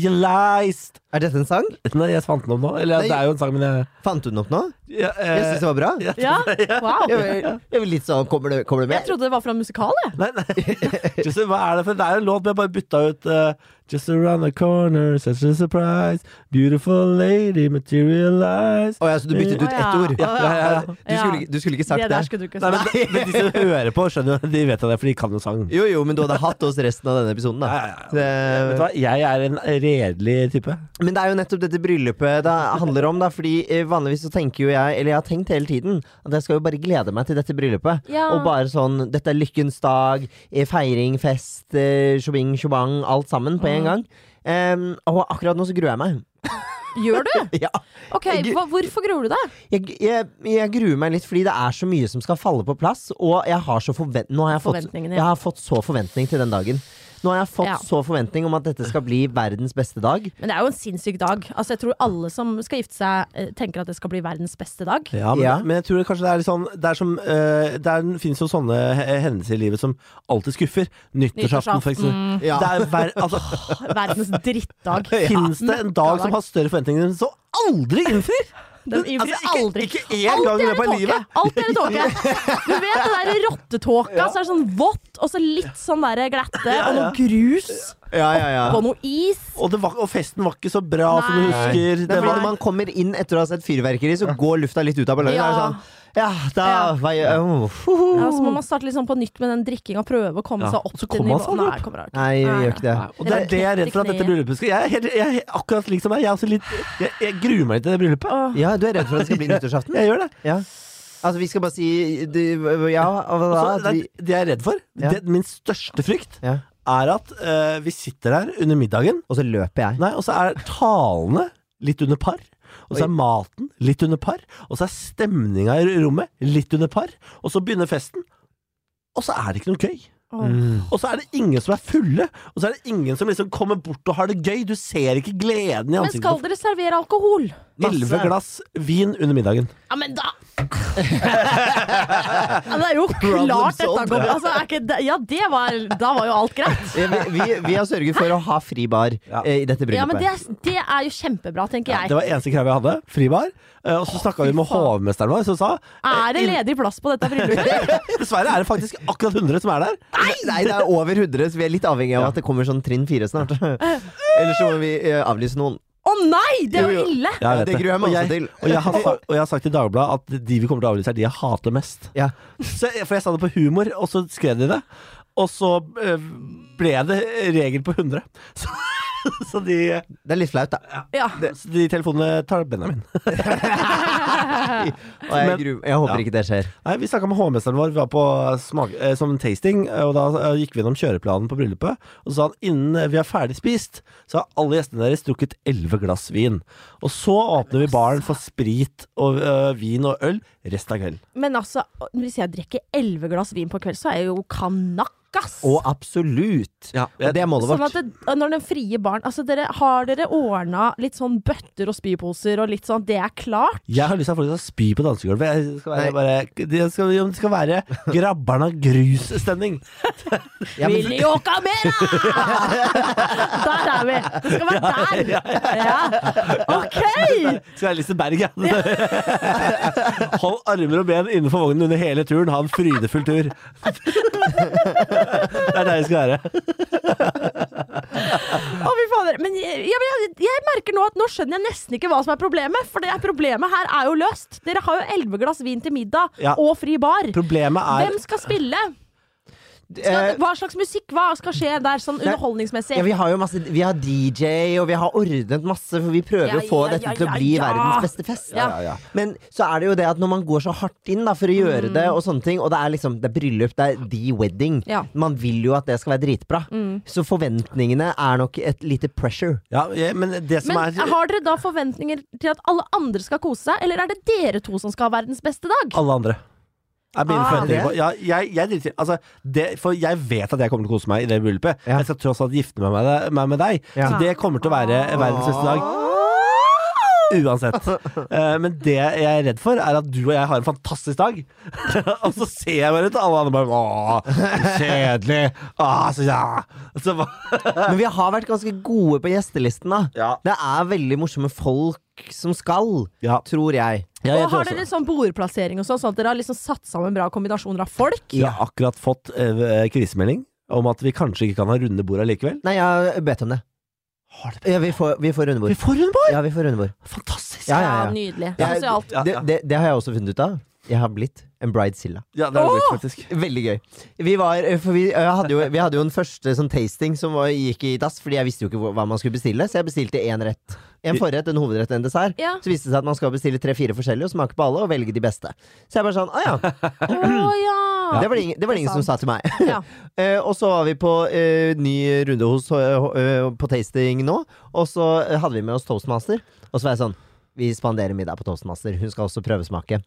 materialized. Er dette en sang? Nei, jeg fant den opp nå. Eller Nei. det er jo en sang, men jeg Fant du den opp nå? ja, eh, Jeg syns det var bra. Jeg, Ja, wow. var- jeg var litt sånn Kommer det, kommer det Jeg med? trodde det var fra en musikal, jeg. Nei, nei. Just, hva er det for Det er jo en låt, men jeg bare bytta ut eh, Just around the corner, such a surprise. Beautiful lady materialized. Å ja, så du byttet ut Å ett ja. ord? Ja, ja, ja, ja. Du, skulle, ikke- du skulle ikke sagt Det det. der skulle du ikke Nei, men, sagt. men de som hører på, skjønner jo, de vet jo det, for de kan jo sang. Jo, jo, men du hadde hatt oss resten av denne episoden, da. Ja, ja, ja. Det- Vet du hva, jeg er en redelig type. Men det er jo nettopp dette bryllupet det handler om, da. Fordi eh, vanligvis så tenker jo jeg, eller jeg har tenkt hele tiden, at jeg skal jo bare glede meg til dette bryllupet. Ja. Og bare sånn Dette er lykkens dag, eh, feiring, fest, eh, tjobing, tjobang, alt sammen på en gang. Em, og akkurat nå så gruer jeg meg. Gjør du? Ja. Ok, hva, Hvorfor gruer du deg? Jeg, jeg, jeg gruer meg litt fordi det er så mye som skal falle på plass, og jeg har så forvent... Nå har jeg fått, Forventningene, ja. jeg har fått så forventning til den dagen. Nå har jeg fått Ja. så forventning om at dette skal bli verdens beste dag. Men det er jo en sinnssyk dag. Altså, jeg tror alle som skal gifte seg, eh, tenker at det skal bli verdens beste dag. Ja, men, Ja. men jeg tror det kanskje det er litt sånn Det, er som, eh, det er, finnes jo sånne he- hendelser i livet som alltid skuffer. Nyttårsaften, for eksempel. Ja. Det er hver, altså, Verdens drittdag. Finnes det en dag som har større forventninger enn som aldri innfrir? Den innfrir altså, aldri. Ikke, ikke én gang i er løpet av det livet. tåke. Alt er i tåke. Du vet det der rottetåka, så er det sånn vått, og så litt sånn der glatte, og noe grus, Ja, ja, ja. og noe is. Og, det var, og festen var ikke så bra som du Nei. husker. Det Det er fordi var, når man kommer inn etter å ha sett fyrverkeri, så går lufta litt ut av ballongen. Ja. Ja. Sånn, ja, da Ja. var jeg, åh, hu, hu. Ja, så må man starte liksom på nytt med den drikkinga og prøve å komme Uh. Ja, seg opp så til kommer man nivå. seg aldri Nei, opp. kommer aldri. Nei, jeg gjør ikke det. Nei, og det er det jeg er redd for at dette bryllupet skal Jeg er, helt, jeg er akkurat lik som deg. Jeg, er også litt, jeg, jeg gruer meg litt til det bryllupet. Åh. Ja, du er redd for at det skal bli nyttårsaften? Jeg gjør det. Ja. Altså, vi skal bare si du, Ja, og hva da? Så At Altså, det, vi, er- det jeg er redd for, Ja. det, min største frykt, ja. er at eh, vi sitter der under middagen, Og så løper jeg. Nei, og så er talene litt under par. Og så er maten litt under par. Og så er stemninga i rommet litt under par. Og så begynner festen, og så er det ikke noe gøy. Åh. Og så er det ingen som er fulle, og så er det ingen som liksom kommer bort og har det gøy. Du ser ikke gleden i Men skal ansiktet. dere servere alkohol? på Elleve Masse. glass vin under middagen. Ja, men da ja, Det er jo Problem klart dette solved. går altså, er ikke det, Ja, det var Da var jo alt greit. Eh, Vi, vi, vi har sørget for å ha fri bar Ja. eh, i dette bryllupet. Ja, men det, er- det er jo kjempebra, tenker Det jeg. var eneste kravet jeg hadde. Fribar. Eh, Og så snakka vi med faen. hovmesteren vår, som sa eh, Er det ledig plass på dette bryllupet? Dessverre er det faktisk akkurat 100 som er der. Nei, det er over 100, så vi er litt avhengig av at det kommer sånn trinn fire snart. Ellers så må vi eh, avlyse noen. Å nei, det er Jo, jo jo. ille! Jeg vet det gruer jeg meg Og også til. Og jeg, har sa, og jeg har sagt til Dagbladet at de vi kommer til å avlyse, er de jeg hater mest. Ja. Så, for jeg sa det på humor, og så skrev de det. Og så eh, ble det regel på 100. Så, så, de, Det er litt flaut, da. Ja. så de telefonene tar Benjamin. Og jeg, Men- gruer- jeg håper Ja. ikke det skjer. Nei, Vi snakka med hovmesteren vår, vi var på smak, eh, som tasting, og da eh, gikk vi gjennom kjøreplanen på bryllupet. Og så sa han innen vi er ferdig spist, så har alle gjestene deres drukket elleve glass vin. Og så åpner vi baren for sprit og eh, vin og øl resten av kvelden. Men altså, hvis jeg drikker elleve glass vin på kveld, så er jeg jo kanakk, ass! Og absolutt. Ja, Og det er målet Sånn vårt. at det, når den frie barn Altså, dere, har dere ordna litt sånn bøtter og spyposer og litt sånn Det er klart? Jeg har lyst til at folk skal spy på dansegulvet. Jeg skal være, Nei. bare, det, skal, jo, det skal være grabber'n av grus-stemning. Ja, men- Willy Åkamera! der er vi! Det skal være der! Ja. OK! Skal være Lise Berg, ja. Hold av armer og ben innenfor vognen under hele turen. Ha en frydefull tur. Det er der vi skal være. Å, fy fader. Men jeg, ja, men jeg, jeg merker nå at nå skjønner jeg nesten ikke hva som er problemet. For det er problemet her er jo løst. Dere har jo elleve glass vin til middag Ja. og fri bar. Problemet er Hvem skal spille? Eh, Skal, hva slags musikk? Hva skal skje der sånn underholdningsmessig? Ja, vi har jo masse Vi har DJ, og vi har ordnet masse, for vi prøver Ja, å få ja, dette ja, til å ja, bli ja. verdens beste fest. Ja. Men så er det jo det at når man går så hardt inn da for å gjøre Mm. det, og sånne ting, og det er liksom Det er bryllup, det er the wedding. Ja. Mm. Man vil jo at det skal være dritbra. Så forventningene er nok et lite pressure. ja, ja, Men det som Men er har dere da forventninger til at alle andre skal kose seg, eller er det dere to som skal ha verdens beste dag? Alle andre. Er mine Ah, forventninger det? på ja, jeg, jeg, driter i- altså, det, For jeg vet at jeg kommer til å kose meg i det bryllupet. Ja. Jeg skal tross alt gifte meg med, deg- meg med deg. Ja. Så det kommer til å være verdens beste dag. Uansett. Eh, men det jeg er redd for, er at du og jeg har en fantastisk dag. og så ser jeg bare ut, og alle andre bare Åh, kjedelig. Åh, så ja. Så, hva- Men vi har vært ganske gode på gjestelisten, da. Ja. Det er veldig morsomme folk som skal, ja. tror jeg. Ja, jeg og tror har også- dere sånn bordplassering og sånn, sånn at dere har liksom satt sammen bra kombinasjoner av folk? Jeg har akkurat fått eh, krisemelding om at vi kanskje ikke kan ha runde bord allikevel. Nei, jeg har bedt om det. Ja, vi får, vi får Vi rundebord. får runde bord! Ja, vi får rundebord. Fantastisk! Ja, ja, ja. Nydelig. Ja, Sosialt. Ja, det, ja. det, det har jeg også funnet ut av. Jeg har blitt en bridezilla. Ja, det er Åh! litt, faktisk. Veldig gøy. Vi, var, for vi, eh, hadde, jo, vi hadde jo en første sånn tasting som var, gikk i dass, fordi jeg visste jo ikke hvor- hva man skulle bestille, så jeg bestilte én rett. En forrett, en hovedrett, en dessert. Ja. Så viste det seg at man skal bestille tre-fire forskjellige og smake på alle og velge de beste. Så jeg bare sånn, ah ja. Å ja. Det var det ingen, det var det ingen som sa til meg. Ja. Eh, og så var vi på eh, ny runde hos, eh, på tasting nå, og så eh, hadde vi med oss Toastmaster. Og så var jeg sånn Vi spanderer middag på Toastmaster, hun skal også prøvesmake.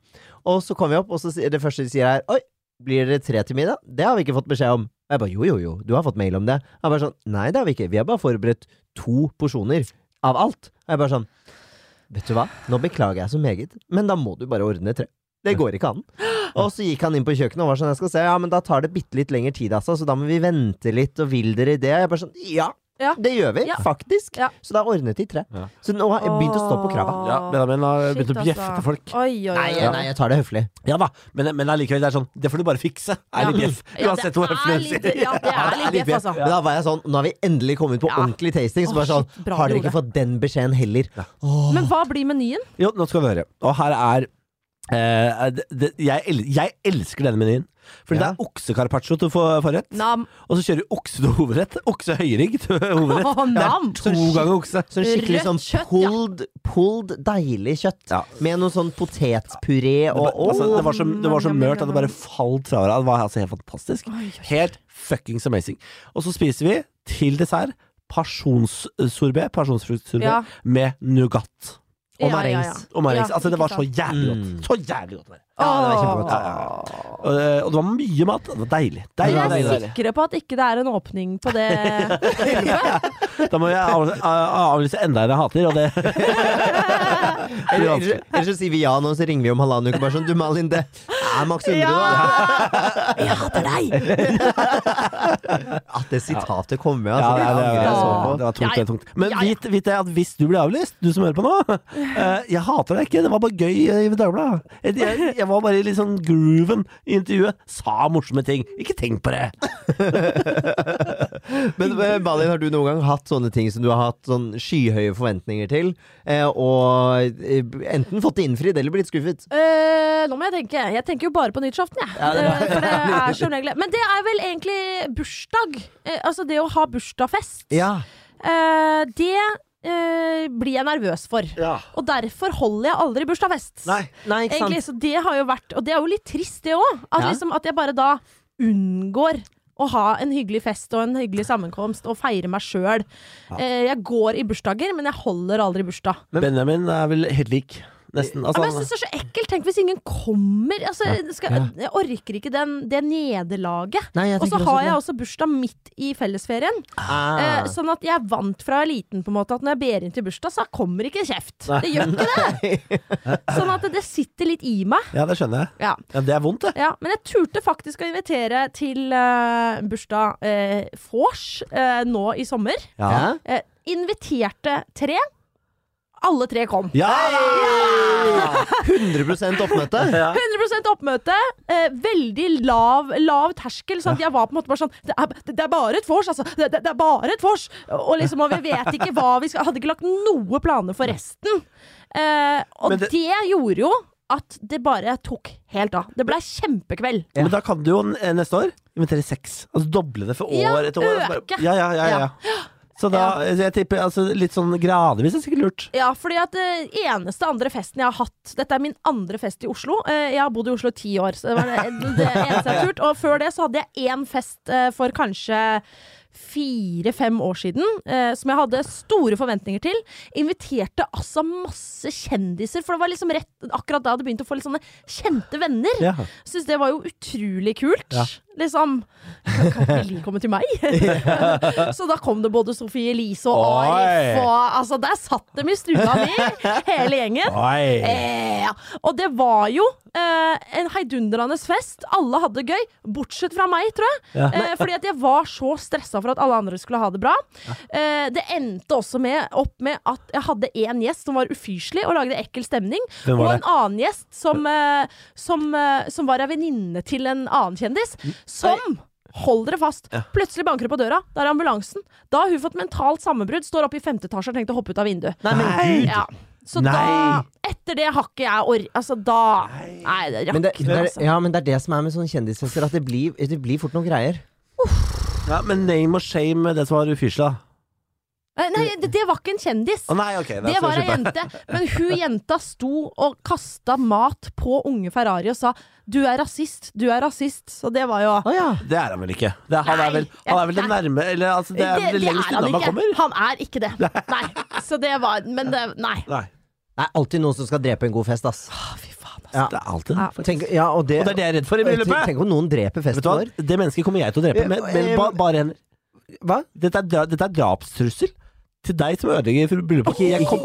Og så kom vi opp, og så sier- det første de sier er Oi, blir det tre til middag? Det har vi ikke fått beskjed om. Og jeg bare jo, jo, jo, du har fått mail om det. Jeg bare sånn Nei, det har vi ikke. Vi har bare forberedt to porsjoner av alt. Og jeg bare sånn Vet du hva, nå beklager jeg så meget, men da må du bare ordne tre. Det går ikke an. Og så gikk han inn på kjøkkenet og var sånn, jeg skal se, ja, men da tar det bitte litt lengre tid, altså, så da må vi vente litt, og vil dere det? Jeg bare sånn, ja, Ja. det gjør vi, Ja. faktisk. Ja. Så da ordnet de tre. Ja. Så nå har jeg begynt å stå på krava. Ja, Benjamin har Shit, begynt å bjeffe altså. til folk. Oi, oi, oi. Nei, nei, jeg tar det høflig. Ja da, men, men allikevel, det er sånn Det får du bare fikse. Er litt bjeff. Ja, det Uansett hvor høflig er hun litt- sier. Ja, det er litt bjeff, altså. Men da var jeg sånn, nå har vi endelig kommet på Ja. ordentlig tasting, så Åh, bare sånn, shit, bra har du dere gjorde ikke fått den beskjeden heller? Men hva blir menyen? Jo, nå skal vi høre. Og her er eh, det, det, jeg, el jeg elsker denne menyen. Fordi Ja. det er oksekarpaccio til for- forrett. Nam. Og så kjører vi okse til hovedrett. Okse høyrygg til hovedrett. Å, nam. To ganger okse. Sånn skikkelig Rødt sånn kjøtt, ja. pulled, pulled deilig kjøtt, Ja. med noe sånn potetpuré og... Åh, altså, det, var så, det var så Mm, mørkt at det bare mm, falt fra hverandre. Det var altså helt fantastisk. Helt fuckings amazing. Og så spiser vi, til dessert, pasjonssorbé, pasjonsfruktsorbé, Ja. med nougat. Ja, Og ja, marengs. ja. Og marengs. Ja, altså, det var ikke så sant. jævlig godt. Så jævlig godt. var det. Ja, det var kjempegodt. Ja, ja. Og, det- og det var mye mat. Det var deilig. deilig, Dere deilig, er deilig. sikre på at ikke det er en åpning på det Da må jeg av- av- avlyse enda en jeg hater, og det Eller, eller, eller så sier vi ja nå, så ringer vi om halvannen uke bare sånn Du Malin, det er maks 100 da. Jeg hater deg! At det sitatet kommer, Ja, altså. det, det, det, angrer jeg så det, det på. var tungt. Det var tungt. Men Ja, ja. vit, vit det at hvis du blir avlyst, du som hører på nå eh, Jeg hater deg ikke, det var bare gøy eh, i Dagbladet. Jeg, jeg, jeg var bare i litt sånn grooven i intervjuet. Sa morsomme ting. Ikke tenk på det. Men eh, Malin, har du noen gang hatt sånne ting som du har hatt sånn skyhøye forventninger til, eh, og eh, enten fått det innfridd eller blitt skuffet? Eh, nå må jeg tenke. Jeg tenker jo bare på nyttårsaften, jeg. Eh, For det er som regel Men det er vel egentlig bursdag. Eh, altså det å ha bursdagsfest. Ja. Eh, det eh, blir jeg nervøs for. Og derfor holder jeg aldri bursdagsfest. Nei, ikke sant? Egentlig, så det har jo vært Og det er jo litt trist, det òg. At, Ja. liksom, at jeg bare da unngår å ha en hyggelig fest og en hyggelig sammenkomst og feire meg sjøl. Eh, jeg går i bursdager, men jeg holder aldri bursdag. Benjamin er vel helt lik. Nesten. Ja, Altså, Sånn, men jeg syns det er så ekkelt! Tenk hvis ingen kommer! Altså, skal, jeg orker ikke den, det nederlaget. Nei, jeg Og så tenker har også jeg det. også bursdag midt i fellesferien. Ah. Eh, sånn at jeg er vant fra jeg er liten på en måte at når jeg ber inn til bursdag, så kommer ikke kjeft. Det gjør ikke det! Sånn at det- det sitter litt i meg. ja, det skjønner jeg. Ja. Ja, det er vondt, det. Ja, men jeg turte faktisk å invitere til eh, bursdag eh, vors eh, nå i sommer. Ja. Eh, inviterte tre. Alle tre kom. Ja! 100 oppmøte! ja. 100 oppmøte. Eh, veldig lav, lav terskel. Sånn at jeg var på en måte bare sånn Det er, det er bare et vors, altså! Det, det, det er bare et vors! Og liksom, og vi vet ikke hva vi skal Hadde ikke lagt noe planer for resten. Eh, og Men det, det- gjorde jo at det bare tok helt av. Det ble kjempekveld. Men da kan du jo eh, neste år invitere seks. Altså doble det for år Ja, etter år. Altså, øke. bare, ja, ja, ja, ja. Så da, jeg tipper altså, litt sånn gradvis er sikkert lurt. Ja, fordi at eh, eneste andre festen jeg har hatt Dette er min andre fest i Oslo. Eh, jeg har bodd i Oslo i ti år, så det var det, det eneste jeg har turt. Og før det så hadde jeg én fest eh, for kanskje fire-fem år siden, eh, som jeg hadde store forventninger til. Inviterte altså masse kjendiser, for det var liksom rett akkurat da jeg hadde begynt å få litt sånne kjente venner. Ja. Syns det var jo utrolig kult. Ja. Liksom. Kan ikke Li komme til meg? så da kom det både Sofie Elise og Oi. Arif. Og, altså, der satt de i stua mi, hele gjengen. Oi! Eh, ja. og det var jo eh, en heidundrende fest. Alle hadde det gøy, bortsett fra meg, tror jeg. Ja. Eh, fordi at jeg var så stressa for at alle andre skulle ha det bra. Eh, det endte også med, opp med at jeg hadde én gjest som var ufyselig og lagde ekkel stemning. Hvem Og var en det? annen gjest som, eh, som, eh, som var ei venninne til en annen kjendis, Mm. som Hold dere fast. Plutselig banker det på døra. Det er ambulansen. Da har hun fått mentalt sammenbrudd, står oppe i femte etasje og har tenkt å hoppe ut av vinduet. Nei, men Nei. gud! Ja. Så Nei. da Etter det har ikke jeg or... Altså, da Nei, det rakk Men det, det det, er, altså. ja, men det er det som er med sånne kjendisfester, at det blir, det blir fort noen greier. Ja, men name og shame det som var ufyselig, da. Eh, Nei, det, det var ikke en kjendis. Å nei, ok. Det var ei jente. Men hun jenta sto og kasta mat på unge Ferrari og sa 'du er rasist, du er rasist'. Så det var jo Å ja. Det er han vel ikke. Det er, han, er vel, Nei, han er vel det nei. nærme Eller altså, det er vel det lengst unna man kommer. Han er ikke det. Nei. Så det var Men det Nei. Nei. Det er alltid noen som skal drepe en god fest, ass. Å, fy faen, altså. Ja. Det er alltid Ja. det. Tenk, ja, og det, Og det er det jeg er redd for i bryllupet. Tenk om noen dreper Vet festen du hva? vår. Det mennesket kommer jeg til å drepe med, med ba, bare hender. Hva? Dette er, dra- dette er drapstrussel til deg som ødelegger for bryllupet. Jeg kom-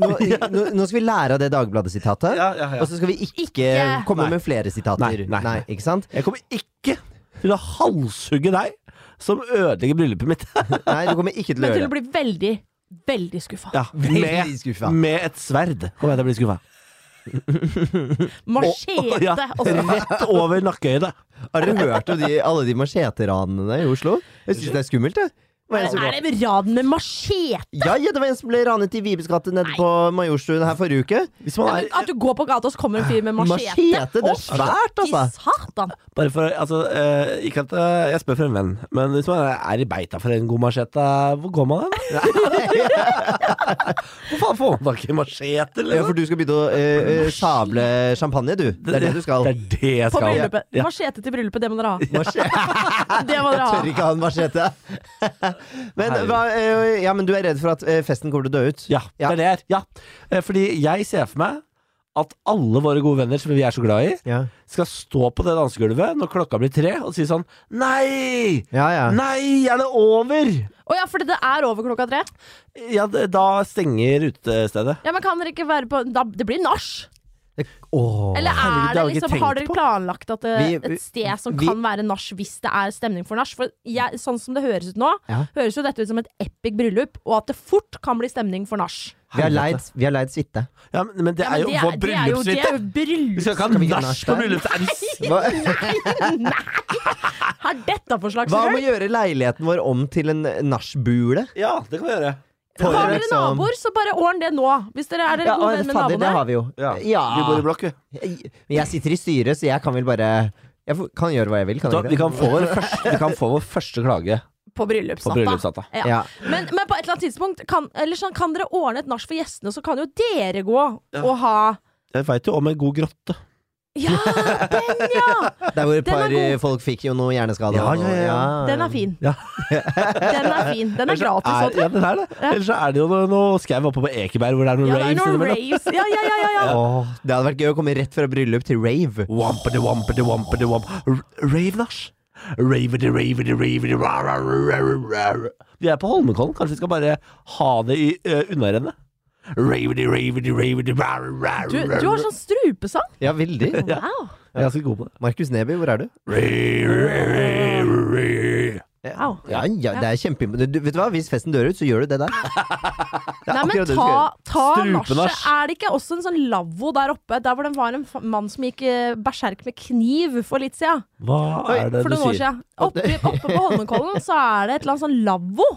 Nå, nå, nå skal vi lære av det Dagbladet-sitatet, Ja, ja, ja. og så skal vi ikke, Ikke. komme Nei. med flere sitater. Nei, nei, nei. ikke sant? Jeg kommer ikke til å halshugge deg som ødelegger bryllupet mitt. Nei, du kommer ikke til å Men til gjøre å det. bli veldig, veldig skuffa. Ja, Veldig med, skuffa. med et sverd kommer jeg til å bli skuffa. Machete. Altså, Ja, og så- rett over nakkehøyde. Har dere hørt om de, alle de macheteranene i Oslo? Jeg syns det er skummelt, jeg. Hva er det som går? Er det raden med machete? Ja, ja, det var en som ble ranet i Vibes gate nede på Majorstuen her forrige uke. Hvis man Ja, er men At du går på gata, og så kommer en fyr med machete? Machete, det Å, er svært, fy altså. satan! Bare for, altså, eh, ikke at eh, jeg spør for en venn, men hvis man er i beita for en god machete, hvor går man hen? da? Hvor faen får man tak i machete, Ja, eller? for du skal begynne å eh, eh, sable champagne, du. Det er det du skal. Det er det jeg På skal. bryllupet. Ja. Machete til bryllupet, det må dere ha. Machete. Det må dere Tør ha. ikke ha en machete. Men, hva, eh, ja, men du er redd for at eh, festen kommer til å dø ut? Ja, det Ja. er det jeg er. Ja. Eh, Fordi jeg ser for meg at alle våre gode venner som vi er så glad i, Ja, skal stå på det dansegulvet når klokka blir tre og si sånn Nei! ja. ja. Nei, er det over? Å ja, fordi det er over klokka tre? Ja, d- da stenger utestedet. Ja, men Kan dere ikke være på da, Det blir nach! Det- Åh. Eller herregud, er det det har jeg ikke liksom, tenkt har dere på. planlagt at det, Vi- vi- et sted som vi- kan være nach hvis det er stemning for nach? For jeg, sånn som det høres ut nå, Ja. høres jo dette ut som et epic bryllup, og at det fort kan bli stemning for nach. Vi har leid, vi har leid suite. Ja, men, men det Ja, er men jo det vår det er jo- det er bryllupssuite! jo bryllup- Vi skal ikke Skal vi ha ikke ha nach nach på der? bryllupet. Er du s- Hva, Nei! Er dette for slags hva om å røll? gjøre leiligheten vår om til en nachbule? Ja, det kan vi gjøre. For Har dere liksom- naboer, så bare ordn det nå. Hvis dere er dere Ja, gode å, venn med fader, det naboene. har vi jo. Ja. Vi bor i Ja. blokk, vi. Jeg, men jeg sitter i styret, så jeg kan vel bare Jeg får- kan gjøre hva jeg vil, kan Så jeg vi ikke kan få vår første, vi kan få vår første klage På på bryllupsnatta. bryllupsnatta. Ja. Ja. Men, men på et eller annet tidspunkt kan, eller sånn, kan dere ordne et nach for gjestene, så kan jo dere gå og ha Jeg veit jo om en god grotte. Ja, den, ja! Der hvor et Den er par god. eh, folk fikk jo noe hjerneskade. Ja, og- ja, ja. Den er fin. Um, Ja. Den er fin. Den er gratis. Er, også. ja, den er det. Ellers så er det jo noe, noe skau oppe på Ekeberg hvor det er noen Ja, det er raves noen innimellom. raves. Ja, ja, ja, ja, ja. Åh, det hadde vært gøy å komme rett fra bryllup til rave. Wampity wampity wampity wamp Rave-nach. Ravety ravety ravety ra, ra, ra, ra, ra, ra. Vi er på Holmenkollen, kanskje vi skal bare ha det i uh, unnarennet? Ravety ravety ravety ra, ra, ra, Du, ra, du har sånn strupesang. Ja, veldig. Ja. Wow. Jeg er ganske god på det. Markus Neby, hvor er du? Ra, ra, ra, ra. wow. Ja, ja, det er kjempeimponerende. Du- Vet du hva, hvis festen dør ut, så gjør du det der. var Det Nei, men akkurat det du ta, skulle gjøre. ta Strupenasj. nasjet. Er det ikke også en sånn lavvo der oppe, der hvor det var en fa- mann som gikk eh, berserk med kniv for litt siden? Hva er det du For noen år sier? siden. Oppe, oppe på Holmenkollen så er det et eller annet sånn lavvo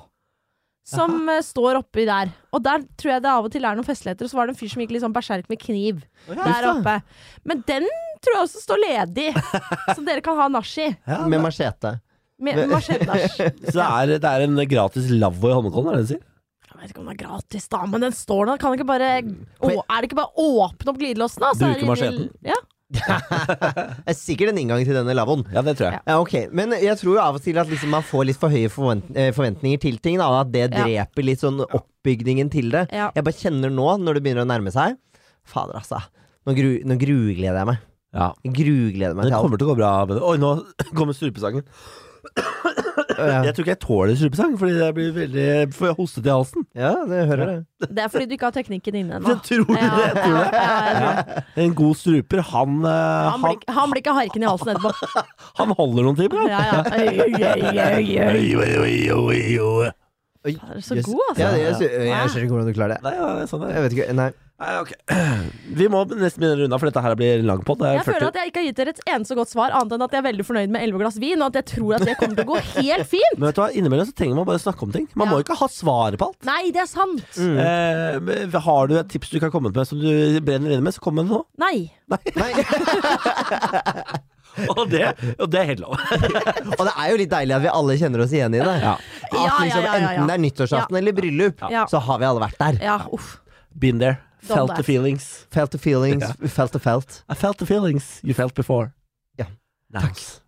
som eh, står oppi der. Og der tror jeg det av og til er noen festligheter. Og så var det en fyr som gikk litt sånn berserk med kniv der Uff da. oppe. Men den tror jeg også står ledig, som dere kan ha nach i. Ja, Med machete. Med machete-nach. så det er, det er en gratis lavvo i Holmenkollen, er det det du sier? Jeg vet ikke om den er gratis, da, men den står der. Kan ikke bare, å, er det ikke bare å åpne opp glidelåsen, da? så er det Mm. Bruke inni- macheten. Ja. Det er sikkert en inngang til denne lavvoen. Ja, det tror jeg. Ja. Ja, ok, Men jeg tror jo av og til at liksom man får litt for høye forvent eh, forventninger til ting. Da, at det Ja. dreper litt sånn oppbygningen til det. Ja. Jeg bare kjenner nå, når det begynner å nærme seg Fader, altså. Nå, gru, nå grugleder jeg meg. Ja. Jeg grugleder meg Det til alt. kommer til å gå bra. men- Oi, nå kommer strupesangen. Ja, Jeg tror ikke jeg tåler strupesang, fordi jeg blir veldig Får jeg hostet i halsen? ja, det hører jeg. Det er fordi du ikke har teknikken inne ennå. Jeg tror du Ja, det? Jeg tror det. ja, jeg tror det. En god struper, han eh, Han blir, Han, ikke- han blir ikke harken i halsen etterpå. han holder noen timer, han. Ja, ja. Øy, øy, øy, øy, øy. Oi, oi, oi, oi, oi. Fader, Så god, altså. Ja, det- jeg, sy- jeg skjønner ikke hvordan du klarer det. Nei, ja, det er sånn det er. Jeg vet ikke, nei Nei, ok. Vi må nesten begynne å runde av, for dette her blir en lang pod. Det er Jeg føler 40 at jeg ikke har gitt dere et eneste godt svar, annet enn at jeg er veldig fornøyd med 11 glass vin, og at jeg tror at det kommer til å gå helt fint. Men vet du hva, innimellom så trenger man bare snakke om ting. Man Ja. må ikke ha svaret på alt. Nei, det er sant! Mm. Eh, men har du et tips du ikke har kommet med som du brenner inne med, så kom med det nå. Nei. Og det, og det er helt lov. Og det er jo litt deilig at vi alle kjenner oss igjen i det. Ja. At Ja, ja, liksom, ja, ja, ja. Enten det er nyttårsaften eller bryllup, Ja. så har vi alle vært der. Ja, uff. Been there. Done Felt that. the feelings. Felt the feelings, felt the felt. I felt the feelings you felt before. Ja. Nice.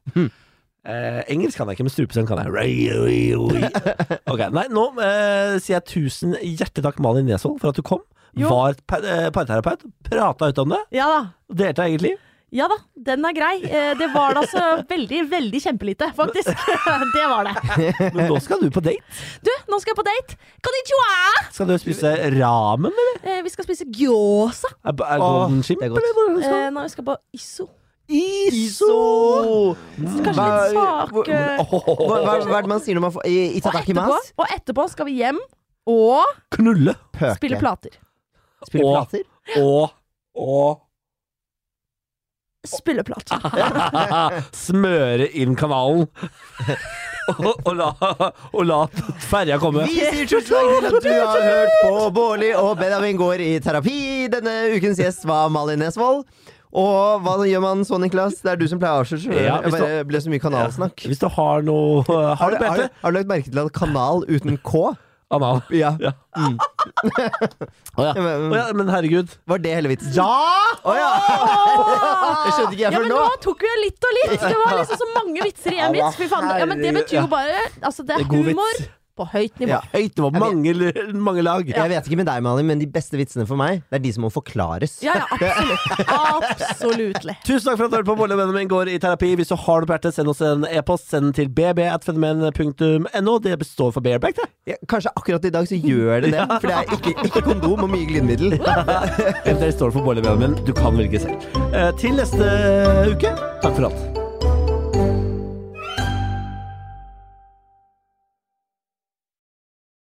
Eh, engelsk kan jeg ikke, men strupesang kan jeg. Rai, oi, oi. Ok, nei, Nå eh, sier jeg tusen hjertelig takk, Malin Nesvold, for at du kom. Jo. Var pa- eh, parterapeut. Prata ut om det. Ja da. Delte av eget liv. Ja da, den er grei. Eh, Det var da så veldig, veldig kjempelite, faktisk. Det var det. Men nå skal du på date. Du, nå skal jeg på date. Konnichiwa! Skal du spise ramen, eller? Eh, Vi skal spise gyoza Er, er golden chimp, det er godt. eller? Hvordan skal eh, når Eh, vi skal på iso. Iso! Kanskje litt sak eh, Hva, hva, hva er det man sier når man får i- og etterpå, Itadakimas? og etterpå skal vi hjem og Knulle Pøke. spille plater. Spille Og- plater? og og Spille plater. smøre inn kanalen. og, og la, og la ferja komme. Vi sier tusen takk til at du har hørt på Bårli og Benjamin går i terapi. Denne ukens gjest var Malin Nesvold. Og hva gjør man så, Niklas? Det er du som pleier å avslutte. skjønner du? Ja, Jeg hvis du- bare ble så mye kanalsnakk. Hvis du har noe eh, Har Har du du, har, bete? du- har du lagt merke til at kanal uten K? Anal. Ja. Ja. Mm. Å ja. Å ja, men herregud. Var det hele vitsen? Ja! Jeg skjønte ikke jeg Ja, før men nå nå. tok vi jo litt og litt. Det var liksom så mange vitser i en vits. Fy faen. Ja, men det betyr jo bare Altså, det Det er er god vits. humor på høyt nivå. Ja. Høyt, det var mange, mange lag. Jeg vet ikke med deg, Malin, men de beste vitsene for meg, det er de som må forklares. Ja, ja, absolutt. Absolutt. Tusen takk for at du hørte på Bolle og Benjamin går i terapi. Hvis du har noe på hjertet, send oss en e-post. Send den til bb.fenomen.no. Det består for bareback, det. Ja, kanskje akkurat i dag så gjør det det, for det er ikke, ikke kondom og mye glidemiddel. Eller det står for Bolle og Benjamin. Du kan velge selv. Eh, Til neste uke, takk for alt.